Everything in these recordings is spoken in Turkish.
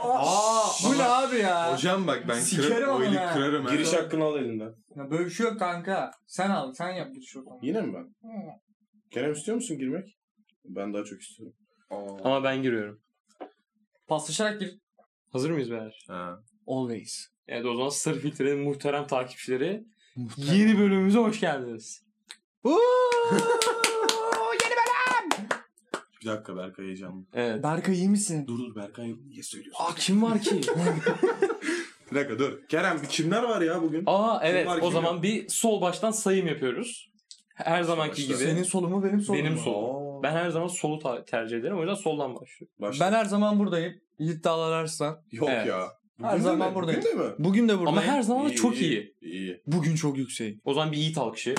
Aa, Bu ne bak- abi ya? Hocam bak ben Sikerim kırar, ama o ili ha. kırarım. ha. Giriş hakkını al elinden. ya? Böyle bir şey yok kanka. Sen al, sen yap git şuradan. Yine mi ben? Hı. Kerem istiyor musun girmek? Ben daha çok istiyorum. Aa. Ama ben giriyorum. Paslaşarak gir. Hazır mıyız beyler? Ha. Always. Evet o zaman Sır Filtre'nin muhterem takipçileri yeni bölümümüze hoş geldiniz. Bir dakika Berkay heyecanlı. Evet. Berkay iyi misin? Dur dur Berkay niye söylüyorsun? Aa kim var ki? Bir dakika dur. Kerem bir kimler var ya bugün? Aa evet var, o kim zaman bir sol baştan sayım yapıyoruz. Her zamanki başla. gibi. Senin solumu benim solum. Benim mu? solum. Ben her zaman solu ta- tercih ederim. O yüzden soldan başlıyorum. Başla. Ben her zaman buradayım. İddialar Arslan. Yok Evet. ya. Her de zaman mi? buradayım. Bugün de mi? Bugün de buradayım. Ama her zaman da çok iyi. İyi. Bugün çok yüksek. O zaman bir Yiğit alkışı.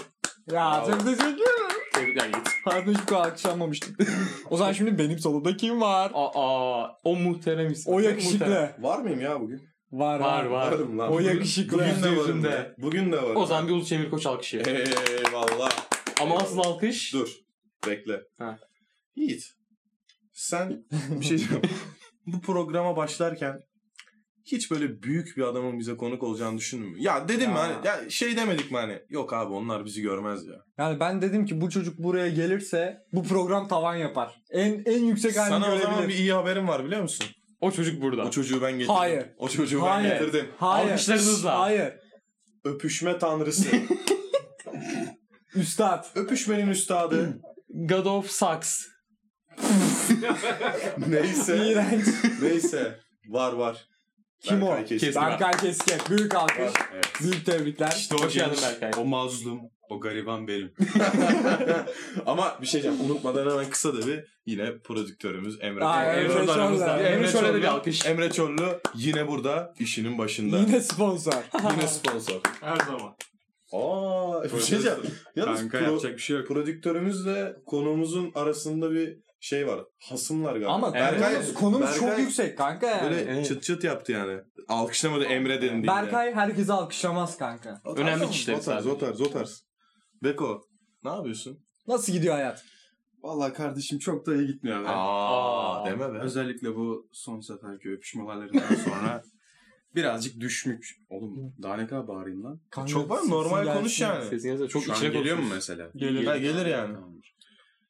Ya Bravo. çok teşekkür ederim. Tebrikler Yiğit. Pardon şu kadar alkışlanmamıştım. o zaman şimdi benim solumda kim var? Aa, aa, o muhterem isim. O Muhterem. yakışıklı. Var mıyım ya bugün? Var Var var. Varım lan. O Bugün- yakışıklı. Bugün de varım. Yüzünde. be. Bugün de varım. O zaman bir Ulu Çemir Koç alkışı. Eyvallah. Ama asıl alkış. Dur. Bekle. Ha. Yiğit. Sen bir şey diyeceğim. Bu programa başlarken hiç böyle büyük bir adamın bize konuk olacağını düşündün mü? Ya dedim mi Ya. hani ya şey demedik mi hani yok abi onlar bizi görmez ya. Yani ben dedim ki bu çocuk buraya gelirse bu program tavan yapar. En en yüksek halini Sana o görebilir. zaman bir iyi haberim var biliyor musun? O çocuk burada. O çocuğu ben getirdim. Hayır. O çocuğu Hayır. ben getirdim. Hayır. Alkışlarınızla. Hayır. Öpüşme tanrısı. Üstad. Öpüşmenin üstadı. God of Sucks. neyse. İğrenç. neyse. Var var. Kim o? Berkay Keskin. Kes- Berkay Keskin. Büyük alkış. Var, evet. Büyük tebrikler. İşte hoş geldin Berkay. O mazlum, o gariban benim. Ama bir şey diyeceğim. Unutmadan hemen kısa da bir yine prodüktörümüz Emre. Aa, Emre, Emre Çorlu. Orada Çorlu. aramızda. Emre Emre şöyle de bir Çorlu. alkış. Emre Çorlu yine burada işinin başında. Yine, Yine sponsor. sponsor. Her zaman. Aa, bir şey diyeceğim. Yalnız Kanka pro- yapacak bir şey yok. prodüktörümüzle konuğumuzun arasında bir şey var. Hasımlar galiba. Ama Berkay- konumuz- konumuz çok Berkay yüksek kanka yani. Böyle Evet. çıt çıt yaptı yani. Alkışlamadı Emre dedim diye. Berkay herkesi alkışlamaz kanka. O tarz- Önemli kişiler O tarz, sadece. o tarz, o tarz. Beko, ne yapıyorsun? Nasıl gidiyor hayat? Vallahi kardeşim çok da iyi gitmiyor be. Aa, Aa. deme be. Özellikle bu son seferki öpüşmelerinden sonra birazcık düşmüş. Oğlum daha ne kadar bağırayım lan? Kanka, Çok var, sesin normal gelsin. konuş yani. Sesin yazıyor. Çok Şu an içine geliyor mu konuşuyorsun. mesela? Gelir. Ha, gelir yani. Tamamdır.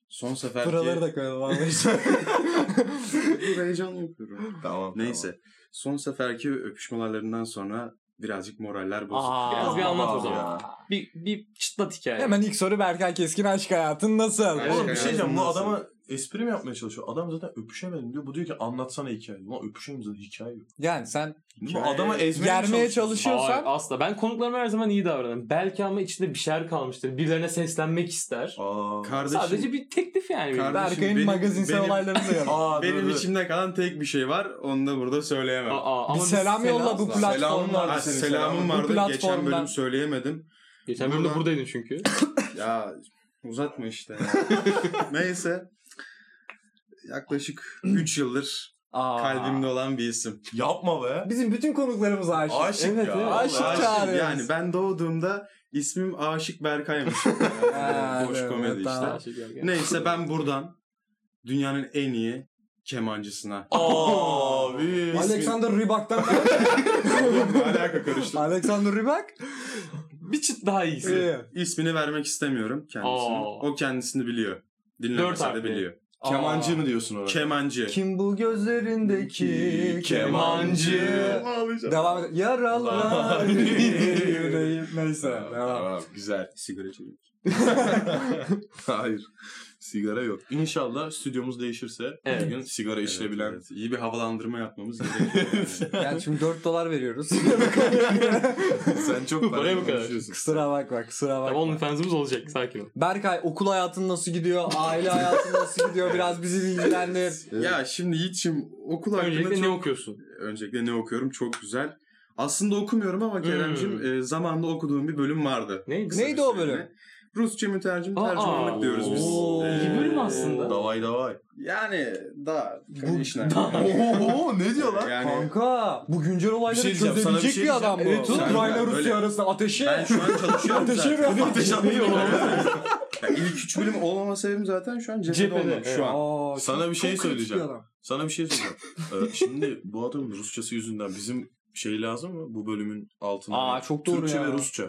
Son seferki... Buraları da koyalım abi. Dur, heyecan yapıyorum. Tamam. Neyse. Son seferki öpüşmelerinden sonra birazcık moraller bozuk. Aa, biraz bir anlat o Aa. zaman. Bir, bir çıtlat hikaye. Hemen ilk soru Berkay Keskin aşk hayatın nasıl? Aşk Oğlum bir hayatı. şey diyeceğim. Bu Nasıl? adama espri mi yapmaya çalışıyor? Adam zaten öpüşemedim diyor. Bu diyor ki anlatsana hikayeyi. Ulan öpüşemedim zaten hikaye yok. Yani sen Bu Hikaye- adama ezmeye mi germeye çalışıyorsun? çalışıyorsan Hayır, asla. Ben konuklarıma her zaman iyi davranırım. Belki ama içinde bir şeyler kalmıştır. Birilerine seslenmek ister. Aa. Kardeşim, Sadece bir teklif yani. benim. Kardeşim, Berkay'ın benim- magazinsel benim- olaylarını duyalım. Aa, dur, benim dur. içimde kalan tek bir şey var. Onu da burada söyleyemem. Aa, bir ama selam yolla bu platforma. Selamın platformlarda. Ha, vardı senin selamın. selamım Bu vardı. Geçen platformdan- bölüm söyleyemedim. Geçen bölümde Buradan- buradaydın çünkü. Ya uzatma işte. Neyse. Yaklaşık 3 yıldır Aa. kalbimde olan bir isim. Yapma be. Bizim bütün konuklarımız aşık. Aşık Evet, ya. evet. Vallahi Aşık Aşık, çağırıyoruz. yani ben doğduğumda ismim Aşık Berkay'mış. Ha, Boş evet, komedi tamam. işte. şey Neyse ben buradan dünyanın en iyi kemancısına. Abi. Alexander Rybak'tan Ne alaka karıştı. Alexander Rybak. Bir çıt daha iyisi. Ee, İsmini vermek istemiyorum kendisine. Aa. O kendisini biliyor. Dört Dinlemese de harfli. biliyor. Kemancı mı diyorsun ona? Kemancı. Kim bu gözlerindeki Kemancı? Devam et. Yaralar yüreğim. Neyse devam. Aa, güzel. Sigara içiyorum. Hayır. Sigara yok. İnşallah stüdyomuz değişirse Evet. bir gün sigara İşlebilen içilebilen iyi bir havalandırma yapmamız gerekiyor. yani. Yani şimdi 4 dolar veriyoruz. Sen çok Paraya parayı bu kadar. konuşuyorsun. kusura bakma kusura Tamam bakma. onun fansımız olacak sakin ol. Berkay okul hayatın nasıl gidiyor? Aile hayatın nasıl gidiyor? Biraz bizi ilgilendir. ya şimdi Yiğit'cim okul hakkında Öncelikle çok... ne okuyorsun? Öncelikle ne okuyorum çok güzel. Aslında okumuyorum ama Kerem'cim Hmm. e, zamanında okuduğum bir bölüm vardı. Neydi? Kısa Neydi bir o süreliğine. bölüm? Rusça mütercim Aa. tercümanlık diyoruz biz. E, Oo. İyi bölüm aslında. Davay davay. Yani daha Bu- işler. Oo ne diyor lan? Yani Kanka bu güncel olayları şey diyeceğim, sana bir çözebilecek bir, şey adam bu. diyeceğim. Evet, Evet oğlum. Ukrayna Sen- Rusya Öyle. arasında ateşe. ben şu an çalışıyorum Ateşe zaten. mi? Ateş atmayı Ya ilk üç bölüm olmama sebebim zaten şu an cephede, Cephede, olmak şu an. Aa, Sana çok- bir şey çok kritik söyleyeceğim. bir adam. Sana bir şey soracağım. Ee, şimdi bu adamın Rusçası yüzünden bizim şey lazım mı? Bu bölümün altına. Aa, çok doğru Türkçe ya. ve Rusça.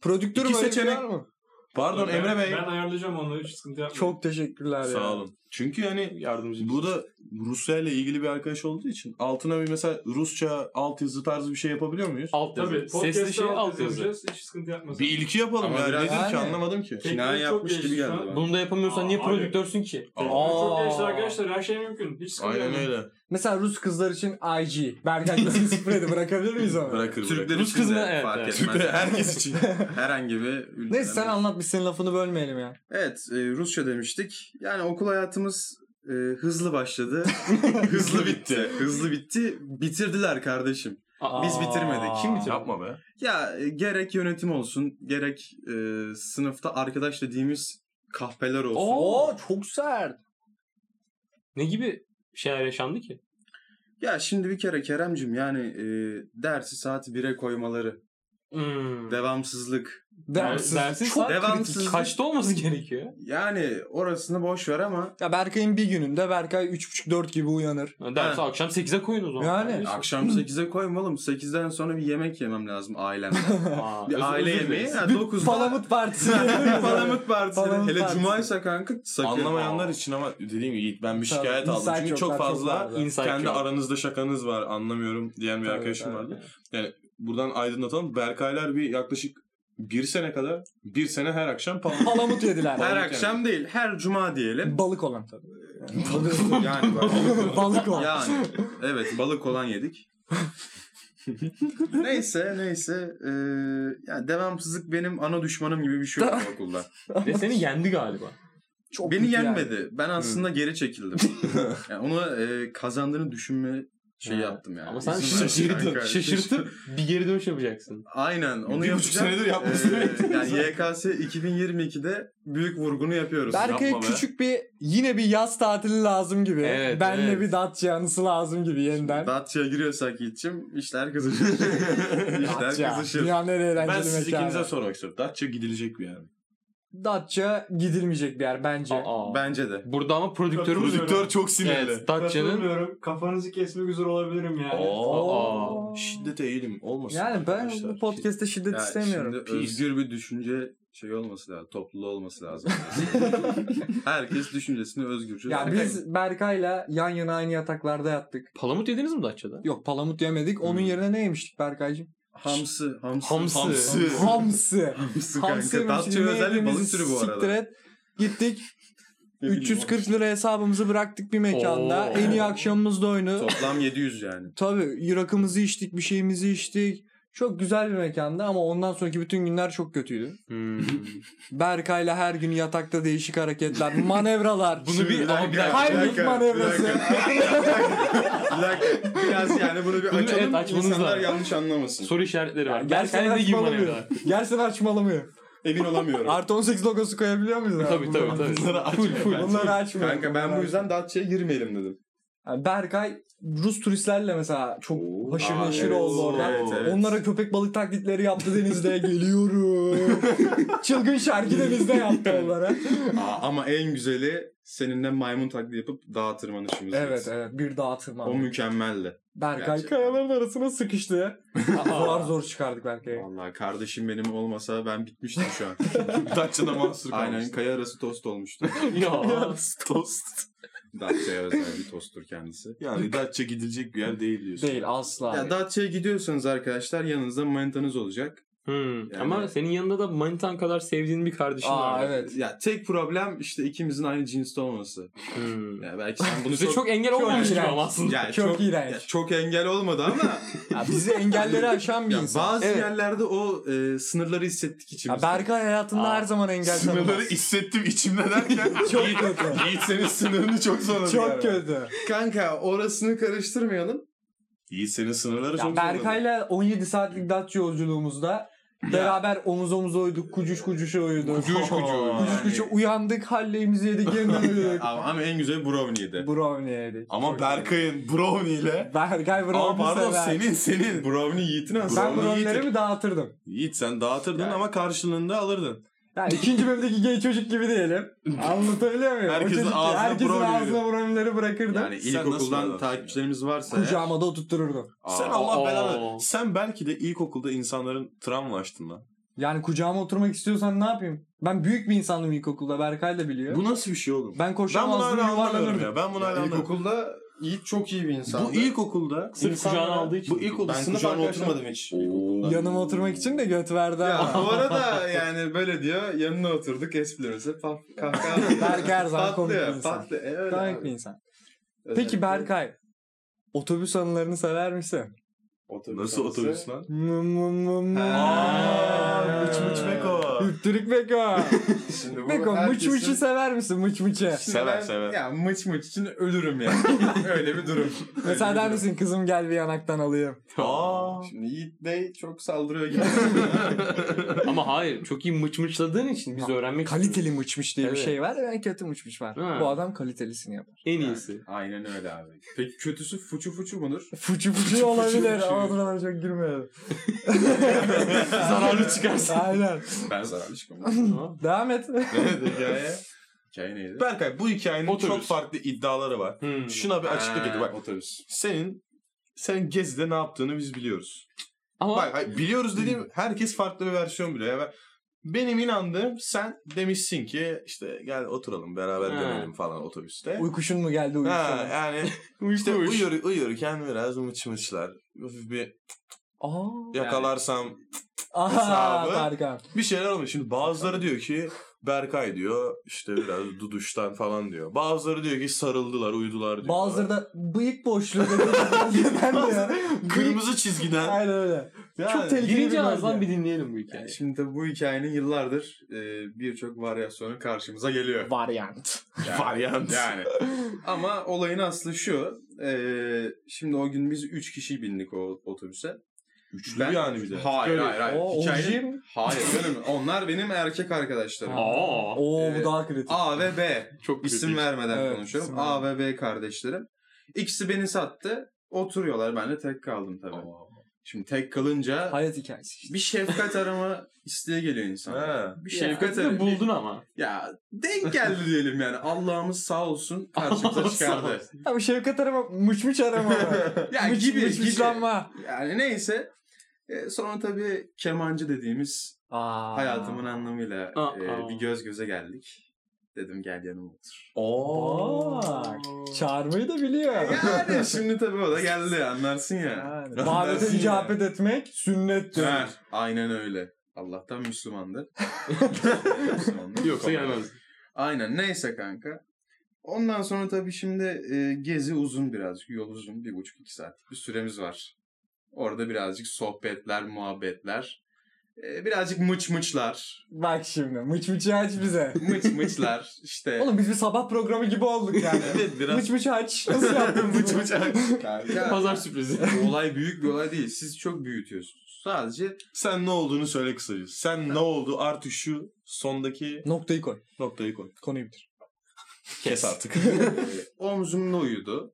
Prodüktör İki böyle bir seçenek- var mı? Pardon Ben- Emre Bey. Ben ayarlayacağım onu. Hiç sıkıntı yapmayın. Çok teşekkürler ya. Sağ olun. Çünkü hani yardımcı. bu da Rusya ile ilgili bir arkadaş olduğu için altına bir mesela Rusça altyazı tarzı bir şey yapabiliyor muyuz? alt yazı. Tabii. Sesli şey alt yazı. yazacağız. Hiç sıkıntı yapmasın. Bir ilki yapalım Ama yani biraz- nedir ki Yani. anlamadım ki. Teknoloji Kinaye çok yapmış gelişti gibi şu geldi an. bana. Bunu da yapamıyorsan Aa, niye abi. prodüktörsün ki? Aa, Teknoloji Çok Aa. gelişti arkadaşlar. Her şey mümkün. Hiç sıkıntı aynen yapmayın. öyle. Mesela Rus kızlar için IG. Berkay bizim spreyde bırakabilir miyiz onu? Bırakır bırakır. Türkler Rus için kızına- de evet, fark evet. etmez. Türkler herkes için. Herhangi bir ülkeden- Neyse sen anlat biz senin lafını bölmeyelim ya. Evet e, Rusça demiştik. Yani okul hayatımız e, hızlı başladı. hızlı bitti. Hızlı bitti. Bitirdiler kardeşim. Biz Aa. bitirmedik. Kim bitirdi? Yapma be. Ya e, gerek yönetim olsun, gerek e, sınıfta arkadaş dediğimiz kahpeler olsun. Oo çok sert. Ne gibi şeyler yaşandı ki? Ya şimdi bir kere Keremcim yani e, dersi saati 1'e koymaları, Hmm. devamsızlık. Dersiz. Dersin çok saat devamsızlık. kritik. Kaçta olması gerekiyor? Yani orasını boş ver ama Ya Berkay'ın bir gününde Berkay 3.30-4 gibi uyanır. Ha, Dersi Ha. akşam 8'e koyun o zaman. Yani. Kardeşim. akşam 8'e koymalım. 8'den sonra bir yemek yemem lazım ailemden. Aa, Bir özür- aile özür yemeği. dileriz. Ha, Bir 9'da Palamut partisi. Bir Palamut partisi. Palamut Hele partisi. cumaysa kanka sakın. Anlamayanlar için ama dediğim gibi Yiğit ben bir Tabii, şikayet aldım. inside Çünkü çok joke'lar fazla vardı. Inside kendi joke. aranızda şakanız var anlamıyorum diyen bir Tabii, arkadaşım tabii. vardı. Buradan aydınlatalım. Berkaylar bir yaklaşık bir sene kadar bir sene her akşam palamut. Palamut yediler. Her akşam değil, her cuma diyelim. Balık olan tabii. yani bak- Balık olan. yani evet balık olan yedik. neyse neyse Ee, yani devamsızlık benim ana düşmanım gibi bir şey oldu okulda. Ve seni yendi galiba. Çok Beni kötü yani. yenmedi. Ben aslında geri çekildim. yani onu e, kazandığını düşünme şey Ha. yaptım yani. Ama sen İzin verdim şaşırdın. kanka. Şaşırtıp bir geri dönüş yapacaksın. Aynen onu Bir yapacağım. buçuk senedir yapmışsın. Ee, yani YKS 2022'de büyük vurgunu yapıyoruz. Berkay'a Yapma be. küçük bir yine bir yaz tatili lazım gibi. Evet, Benle evet. bir Datça anısı lazım gibi yeniden. Datça'ya giriyorsak İlçim işler kızışır. işler Datça. kızışır. Dünyanın en ben eğlenceli siz mekanı. ikinize sormak istiyorum. Datça gidilecek bir yer. mi? Datça gidilmeyecek bir yer bence. Aa. Bence de. Burada ama prodüktörümüz Prodüktör- Prodüktör çok sinirli. Evet, Datça'nın Katılmıyorum. Kafanızı kesmek üzere olabilirim yani. Oo. Oo. Şiddete eğilim olmasın. Yani ben arkadaşlar. bu podcast'te şiddet Ya istemiyorum. Şimdi özgür bir düşünce şey olması lazım. Topluluğu olması lazım. Herkes düşüncesini özgürce. Ya biz Berkay'la yan yana aynı yataklarda yattık. palamut yediniz mi Datça'da? Yok palamut yemedik. Onun Hmm. yerine ne yemiştik Berkay'cığım? hamsı, hamsı, Hamsı. hamsı, Hamsi. hamsı Hamsi kanka. yemiştik. Datça özel bir balık Yemeğimizi türü bu siktir arada. et. Gittik. Ne bileyim, 340 lira hesabımızı bıraktık bir mekanda. Oo. En iyi akşamımızda o- oyunu. Toplam 700 yani. Tabii rakımızı içtik, bir şeyimizi içtik. Çok güzel bir mekanda ama ondan sonraki bütün günler çok kötüydü. Hmm. Berkay'la her gün yatakta değişik hareketler, manevralar. Bunu bir, ama bir dakika. Hayır, manevrası. Bir dakika. Bir dakika. Biraz yani bunu bir Bunu açalım. evet, açmanız İnsanlar lazım. yanlış anlamasın. Soru işaretleri var. Gerçekten Gerçekten ne gibi açmalamıyor. manevralar? Gerçekten açmalamıyor. Emin olamıyorum. Artı 18 logosu koyabiliyor muyuz? abi? Tabii tabii tabii. Full full. Bunları açmıyor. Kanka ben bu yüzden Datça'ya girmeyelim dedim. Yani Berkay Rus turistlerle mesela çok haşır Aa, neşir evet. oldu orada. Evet, evet. Onlara köpek balık taklitleri yaptı denizde. Geliyorum. Çılgın şarkı denizde yaptı onlara. Aa, ama en güzeli seninle maymun taklidi yapıp dağa tırmanışımız. evet evet bir dağa O tırmandı. mükemmeldi. Berkay Gerçekten. kayaların arasına sıkıştı. zor Aa. zor çıkardık Berkay'ı. Vallahi kardeşim benim olmasa ben bitmiştim şu an. Datça'da mahsur kalmıştı. Aynen kaya arası tost olmuştu. Ya. Tost. Datça'ya özel bir tosttur kendisi. Yani Datça gidilecek bir yer değil diyorsun. Değil asla. Ya Datça'ya gidiyorsanız arkadaşlar yanınızda manitanız olacak. Hmm. Ama senin yanında da manitan kadar sevdiğin bir kardeşin var. Aa evet. Ya tek problem işte ikimizin aynı cinste olması. Hmm. Ya belki sen bunu Bize çok... çok engel çok olmamış gibi iğrenç. ama aslında. Ya çok, çok, ya iğrenç. çok engel olmadı ama Ya bizi engelleri aşan bir ya insan. bazı Evet. yerlerde o e, sınırları hissettik Ya içimizde. Berkay hayatında Aa, her zaman engel Sınırları tanımaz. hissettim içimde derken. Çok kötü. Yiğit senin sınırını çok zorladı. Çok kötü. Kanka orasını karıştırmayalım. Yiğit senin sınırları Ya çok zorladı. Berkay'la 17 saatlik Datça yolculuğumuzda beraber omuz omuza uyuduk, kucuş kuşa uyuduk. Kucuş kucuğa uyuduk. Kucuş kuşa uyandık, halleğimizi yedik, yeniden uyuduk. Ama, ama en güzel brownie'ydi. Brownie yedik. Ama Berkay'ın Brownie ile Berkay Aa, Brownie pardon sever. senin senin. Brownie Yiğit'in aslında. Ben Brownie brownie'leri yedik. mi dağıtırdım? Yiğit sen dağıtırdın Yani. ama karşılığında alırdın. Yani ikinci bölümdeki gay çocuk gibi diyelim. Anlatabiliyor muyum? O Herkesin çocuk- ağzına herkesin brownie ağzına brownie'leri bırakırdım. Yani Sen nasıl bir ilkokuldan adamsın takipçilerimiz varsa eğer- Kucağıma da oturttururdum. Aa, Sen Allah Aa. belanı. Sen belki de ilkokulda insanların travmalaştın lan. Yani kucağıma oturmak istiyorsan ne yapayım? Ben büyük bir insandım ilkokulda. Berkay da biliyor. Bu nasıl bir şey oğlum? Ben Ben bunu koşamazdım hala anlamıyorum yuvarlanırdım. ya. Ben bunu hala anlamıyorum. İlkokulda Yiğit çok iyi bir insan. Bu ilkokulda Sırf insanlar- kucağına aldığı için. Bu ilkokulda ben sınıf kucağına arkadaşlar- oturmadım hiç. Yanıma oturmak için de göt verdi. Ya ama. bu arada yani böyle diyor yanına oturduk esprilerimize paf kahkaha. Berk her zaman komik bir Patlıyor, insan. patlıyor. E, öyle Komik abi. bir insan. Özellikle Peki Berkay. Otobüs anılarını sever misin? otobüs Nasıl arası. otobüs lan? Mı mı mı mı. Aa, Aa, mıç mıç Ee. beko. Hüptürük Beko. Şimdi bu Beko mıç herkesin- mıçı sever misin mıç mıçı? Şimdi Sever, ben- sever. Ya mıç mıç için ölürüm yani. öyle bir durum. Mesela der misin kızım gel bir yanaktan alayım. Aa. Şimdi Yiğit Bey çok saldırıyor gibi. Ama hayır çok iyi mıç mıçladığın için biz öğrenmek Kaliteli mıçmış diye bir Evet. şey var. Yani kötü mıçmış var. Ha. Bu adam kalitelisini yapar. istiyoruz. En iyisi. Aynen öyle abi. Peki kötüsü fuçu fuçu mudur? Fucu fucu olabilir. Ama buna çok girmeyelim. Zararlı çıkarsın. Aynen. Ben zararlı çıkmam. Ha. Devam et. Evet hikaye. Hikaye neydi? Berkay bu hikayenin Otobüs. çok farklı iddiaları var. Hmm. Şuna bir açıklık et Ha, bak. Otobüs. Senin sen gezide ne yaptığını biz biliyoruz. Ama Bak hayır, biliyoruz dediğim herkes farklı bir versiyon biliyor. Ya ben- benim inandığım sen demişsin ki işte gel oturalım beraber Ha. dönelim falan otobüste. Uykuşun mu geldi Ha, uykusana? yani işte uyur, uyurken biraz mıç mıçlar. Hafif bir Aa. yakalarsam Aha Hesabı. Tarkan. bir şeyler olmuş. Şimdi bazıları diyor ki Berkay diyor işte biraz duduştan falan diyor. Bazıları diyor ki sarıldılar uyudular diyor. Bazıları da bıyık boşluğu. Neden de ya? Kırmızı çizgiden. Aynen öyle. Yani Çok tehlikeli birinci bir ağızdan bölge. bir dinleyelim bu hikayeyi. Yani şimdi tabii bu hikayenin yıllardır e, birçok varyasyonu karşımıza geliyor. Varyant. Varyant. Yani. Ama olayın aslı şu. e, şimdi o gün biz 3 kişi bindik o otobüse. Üçlü yani bir de. Hayır hayır hayır. O, Hikayenin- OG mi? Hayır canım. Onlar benim erkek arkadaşlarım. Ha. Aa. Oo Evet. bu daha kritik. A ve B. Çok İsim vermeden Evet, konuşuyorum. isim A ve B kardeşlerim. İkisi beni sattı. Oturuyorlar. Ben de tek kaldım tabii. Şimdi tek kalınca Hayat hikayesi işte. bir şefkat arama isteği geliyor insan. Ha. Bir şefkat Şefkat'i arama. de buldun ama. Ya denk geldi diyelim yani. Allah'ımız sağ olsun karşımıza Allah sağ çıkardı. Abi Şevkat arama, mıç mıç arama. Ya mıç gibi, mıç gibi. mıçlanma. Yani neyse. E, sonra tabii kemancı dediğimiz Aa. hayatımın anlamıyla Aa. e, bir göz göze geldik. Dedim gel yanıma otur. Bak. Çağırmayı da biliyor. Yani şimdi tabii o da geldi anlarsın ya. Yani. Anlarsın Davete ya. icabet etmek sünnettir. Ha, aynen öyle. Allah'tan Müslümandır. Müslümandır. Yoksa gelmez. Aynen neyse kanka. Ondan sonra tabii şimdi e, gezi uzun birazcık. Yol uzun. Bir buçuk iki saatlik bir süremiz var. Orada birazcık sohbetler, muhabbetler. e, birazcık mıç mıçlar. Bak şimdi mıç mıçı aç bize. Mıç mıçlar. işte. Oğlum biz bir sabah programı gibi olduk yani. Evet biraz. mıç mıç aç. Nasıl yaptın? bunu? Mıç mıç aç. Kanka, Pazar sürprizi. bu olay büyük bir olay değil. Siz çok büyütüyorsunuz. Sadece Sen ne olduğunu söyle kısaca. Sen ne oldu artık şu sondaki Noktayı koy. noktayı koy. Konuyu bitir. Kes artık. e, omzumda uyudu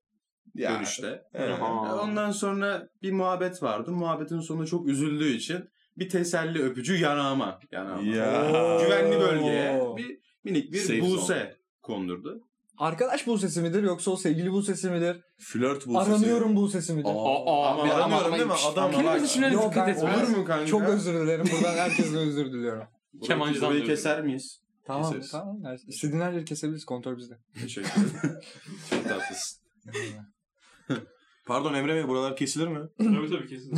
dönüşte. E, Aha. Ondan sonra bir muhabbet vardı. Muhabbetin sonunda çok üzüldüğü için bir teselli öpücü yanağıma. Yanağıma. Ya. Güvenli bölgeye bir minik bir Safe buse zone. kondurdu. Arkadaş bu sesi midir yoksa o sevgili bu sesi midir? Flört bu Aranıyorum bu sesi midir? Aa, Ama bir- aramıyorum ama- değil mi? Adam Ama Kelimesi bak- içine Yok, dikkat ben- etmez. Olur mu kanka? Çok özür dilerim. Buradan herkesten özür diliyorum. Burayı- Kemancıdan Burayı duyuyorum. keser miyiz? Tamam Keseriz. tamam. Her- İstediğin her yeri kesebiliriz. Kontrol bizde. Teşekkür ederim. çok tatlısın. Pardon Emre Bey buralar kesilir mi? tabii tabii kesin.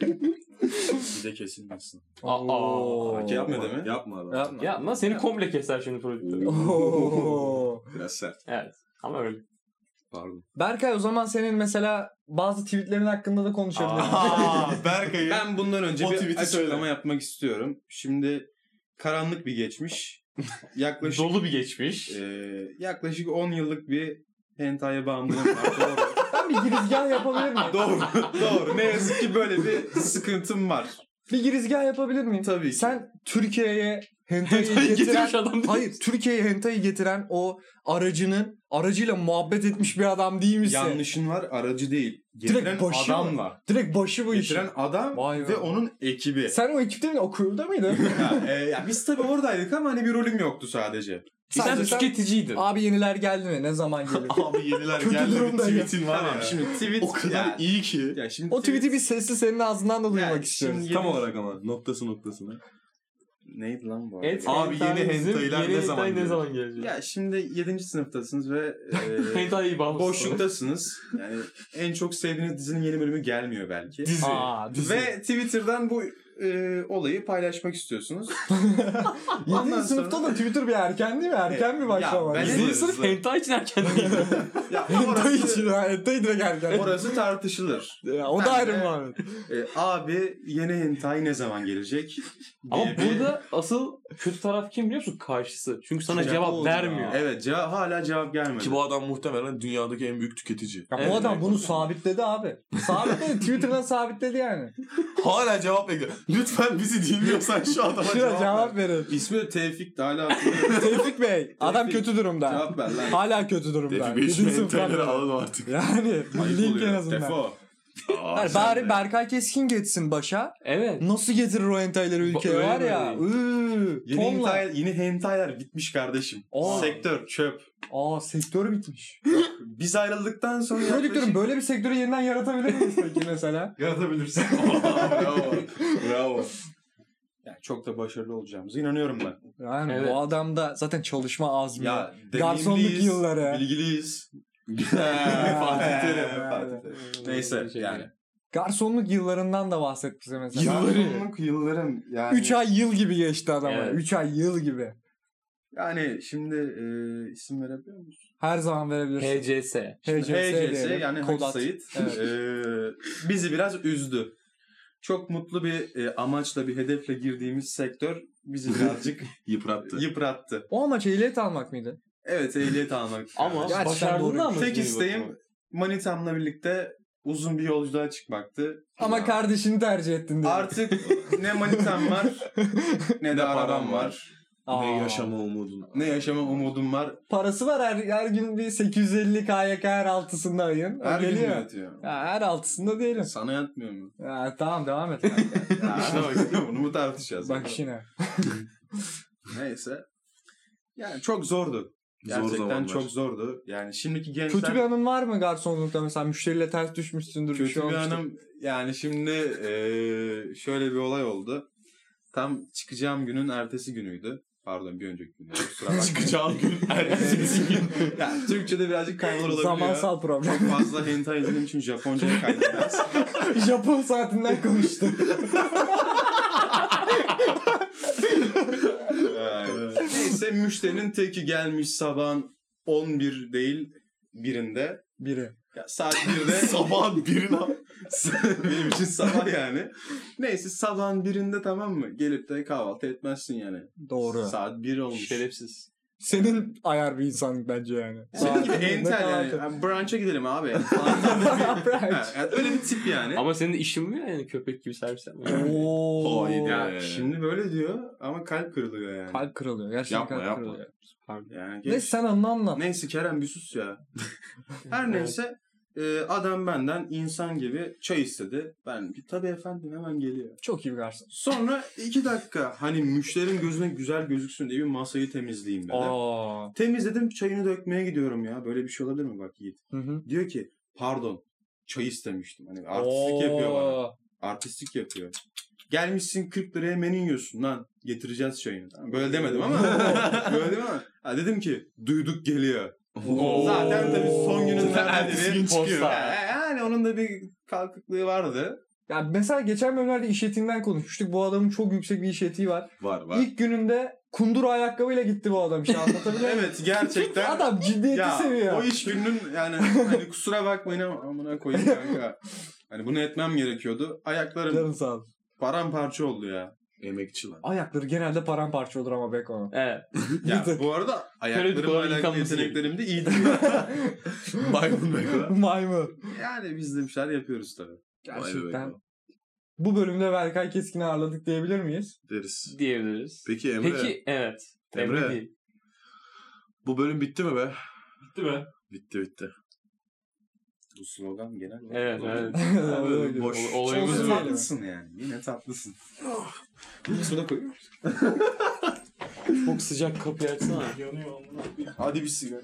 Bir de kesilmesin. Aa, Oo. fark etmez. Yapma deme. Yapma adam. Yapma. Ya lan seni komple keser şimdi prodüktör. Oo. Biraz sert. Evet. Ama öyle. Pardon. Berkay o zaman senin mesela bazı tweetlerin hakkında da konuşabiliriz. Aa Berkay'ı. Ben bundan önce O bir tweet'i açıklama söyle. yapmak istiyorum. Şimdi karanlık bir geçmiş. Yaklaşık Dolu bir geçmiş. Ee, yaklaşık 10 yıllık bir hentai'ye bağımlılığım var. Doğru. ben bir girizgah yapabilir miyim? doğru. Doğru. Ne yazık ki böyle bir sıkıntım var. Bir girizgah yapabilir miyim? Tabii ki. Sen Türkiye'ye Hentai'yi getiren... Getirmiş adam değil. Hayır Türkiye'ye hentai'yi getiren o aracının aracıyla muhabbet etmiş bir adam değil misin? Yanlışın var aracı değil. Getiren başı adam mı? var. Direkt başı bu işin. Getiren adam Vay be. ve onun ekibi. Sen o ekipte miydin? O kurulda mıydın? Ha, e, ya biz tabii oradaydık ama hani bir rolüm yoktu sadece. Sen tüketiciydin. Abi yeniler geldi mi? Ne zaman gelir? Abi yeniler Kötü geldi bir durumda ya. tweetin var Tamam, ya. şimdi tweet o kadar ya, iyi ki. ya şimdi o tweet'i bir sesli senin ağzından da duymak istiyoruz. Tam olarak ama noktası noktasına. Neydi lan bu? Evet, arada? Abi yeni hentai bizim- hentai'ler yeni ne zaman hentai ne gelecek? zaman gelecek? Ya şimdi 7. sınıftasınız ve e, Hentai bağımlısı. boşluktasınız. Yani en çok sevdiğiniz dizinin yeni bölümü gelmiyor belki. Dizi. Aa, dizi. Ve Twitter'dan bu e, olayı paylaşmak istiyorsunuz. Yedinci Ondan sınıfta sonra- da Twitter bir erken değil mi? Erken bir Ya, başlamak. ben- Dizi Hızlı. sırf hentai için erken değil. ya Hentai orası, için ha. Hentai direkt erken. orası tartışılır. Ya, o da Ben ayrı de- muhabbet. E, abi yeni hentai ne zaman gelecek? Ama diye bir- burada asıl kötü taraf kim biliyor musun? Karşısı. Çünkü sana Ya, cevap oldu ya. vermiyor. Evet cevap, hala cevap gelmedi. Ki bu adam muhtemelen dünyadaki en büyük tüketici. Ya, Evet. bu adam bunu sabitledi abi. Sabitledi. Twitter'dan sabitledi yani. Hala cevap bekliyor. Lütfen bizi dinliyorsan şu adama Şuna cevap, ver. cevap verin. İsmi de Tevfik de hala hatırlıyorum. Tevfik Bey. Adam kötü durumda. cevap ver lan. Hala kötü durumda. Defi 5 Yedinci sınıftan mentalleri beri. alın artık. Yani bu Ayıp link oluyor. en azından. Defo. Aa, Yani sen bari de. Berkay Keskin geçsin başa. Evet. Nasıl getirir o entayları ülkeye öyle var ya. mi? Iıı, Yeni, tonla. hentai, yeni hentailer bitmiş kardeşim. Aa. Sektör çöp. Aa sektör bitmiş. Biz ayrıldıktan sonra... Prodüktörüm böyle bir sektörü yeniden yaratabilir miyiz peki mesela? Yaratabilirsin. bravo. Bravo. Yani çok da başarılı olacağımıza inanıyorum ben. Yani Evet. bu adamda zaten çalışma azmi. Ya Garsonluk deneyimliyiz, yılları. Bilgiliyiz. Fatih Fatih Terim. Terim. Fatih Terim. Neyse Teşekkür yani. Garsonluk yıllarından da bahset bize mesela. Garsonluk yıllarım yani. 3 ay yıl gibi geçti adama. Evet. 3 ay yıl gibi. Yani şimdi e, isim verebiliyor musun? Her zaman verebilirsin. HCS. HCS, diyelim. yani Kod Hacı at. Sayit Evet. e, bizi biraz üzdü. Çok mutlu bir e, amaçla bir hedefle girdiğimiz sektör bizi birazcık Yıprattı. yıprattı. O amaç ehliyet almak mıydı? Evet ehliyet almak. Ama Gerçekten başardın doğru. ama. tek isteğim manitamla birlikte uzun bir yolculuğa çıkmaktı. Ama Ya. kardeşini tercih ettin diye. artık ne manitam var ne de param var. Aa. Ne yaşama umudun. Ne yaşama umudum var. Parası var her, her gün bir 850 KYK her altısında ayın. O Her gün geliyor. yatıyor. Ya her altısında değilim. Sana yatmıyor mu? Ya, tamam devam et. Ya, İşte bak bunu mu tartışacağız? Bak şimdi. Neyse. Yani çok zordu. Zor Gerçekten zamanlar. çok zordu. Yani şimdiki gençler... Kötü bir anın var mı garsonlukta mesela müşteriyle ters düşmüşsündür bir Kötü şey bir olmuştur. hanım yani şimdi eee, şöyle bir olay oldu. Tam çıkacağım günün ertesi günüydü. Pardon bir önceki gün. Kusura bakmayın. Çıkacağım gün ertesi gün. yani Türkçe'de birazcık kaymalar olabiliyor. Zamansal problem. Çok fazla hentai izlediğim için Japonca'ya kaydederiz. Japon saatinden konuştu. Neyse müşterinin teki gelmiş sabahın 11 değil birinde. Biri. Ya saat 1'de Sabahın birine. Benim için sabah yani. Neyse sabahın birinde tamam mı? Gelip de kahvaltı etmezsin yani. Doğru. Saat 1 olmuş. Şerefsiz. Senin ayar bir insan bence yani. Senin gibi Saat birinde entel yani. kahvaltı. yani. Brunch'a gidelim abi. Brunch. Ha, yani öyle bir tip yani. Ama senin de işin mi yani köpek gibi servis yapmak? Oo. Haydi. Ya şimdi böyle diyor ama kalp kırılıyor yani. Kalp kırılıyor. Gerçekten Yapma, kalp yapma. kırılıyor. Yani Ne geç- sen onu anlat. Neyse Kerem bir sus ya. Her neyse e, adam benden insan gibi çay istedi. Ben tabii efendim hemen geliyor. Çok iyi bir garson. Sonra iki dakika hani müşterinin gözüne güzel gözüksün diye bir masayı temizleyeyim dedim. Aa. Temizledim çayını dökmeye gidiyorum ya. Böyle bir şey olabilir mi bak Yiğit? Hı hı. Diyor ki pardon çay istemiştim. Hani artistlik yapıyor bana. Oo. Artistlik yapıyor. Gelmişsin 40 liraya menü yiyorsun lan. Getireceğiz çayını. Tamam, Böyle demedim ama. böyle demedim ama. Ha, dedim ki duyduk geliyor. Oo. Zaten tabii son günün Ertesi gün neredeydi. çıkıyor. Posta. Yani onun da bir kalkıklığı vardı. Ya mesela geçen bölümlerde iş etiğinden konuşmuştuk. Bu adamın çok yüksek bir iş etiği var. Var var. İlk gününde kundura ayakkabıyla gitti bu adam işte anlatabiliyor muyum? Evet gerçekten. Adam ciddiyeti Ya seviyor. o iş gününün yani hani kusura bakmayın ama amına koyayım kanka. Hani bunu etmem gerekiyordu. Ayaklarım Canın sağ olsun. paramparça oldu ya. Emekçi lan. Ayakları genelde paramparça olur ama Beko. Evet. Ya Bir de- bu arada Periyodik ayaklarım olarak alakalı yıkanması yeteneklerim de iyi değil. Maymun be kadar. Maymun. yani biz de bir şeyler yapıyoruz tabii. Gerçekten. Bu bölümde Berkay Keskin'i ağırladık diyebilir miyiz? deriz. diyebiliriz. Peki Emre Peki evet. Emre. Emre, değil. bu bölüm bitti mi be? Bitti be. Bitti bitti. Bu slogan genel olarak. Evet böyle. evet. Boş. Ol- Çok Olayımız bu. tatlısın yani. Yine tatlısın. Ah. Bunu sonra koyuyor. Çok sıcak kapıyı açsana. Yanıyor amına. Hadi bir sigara.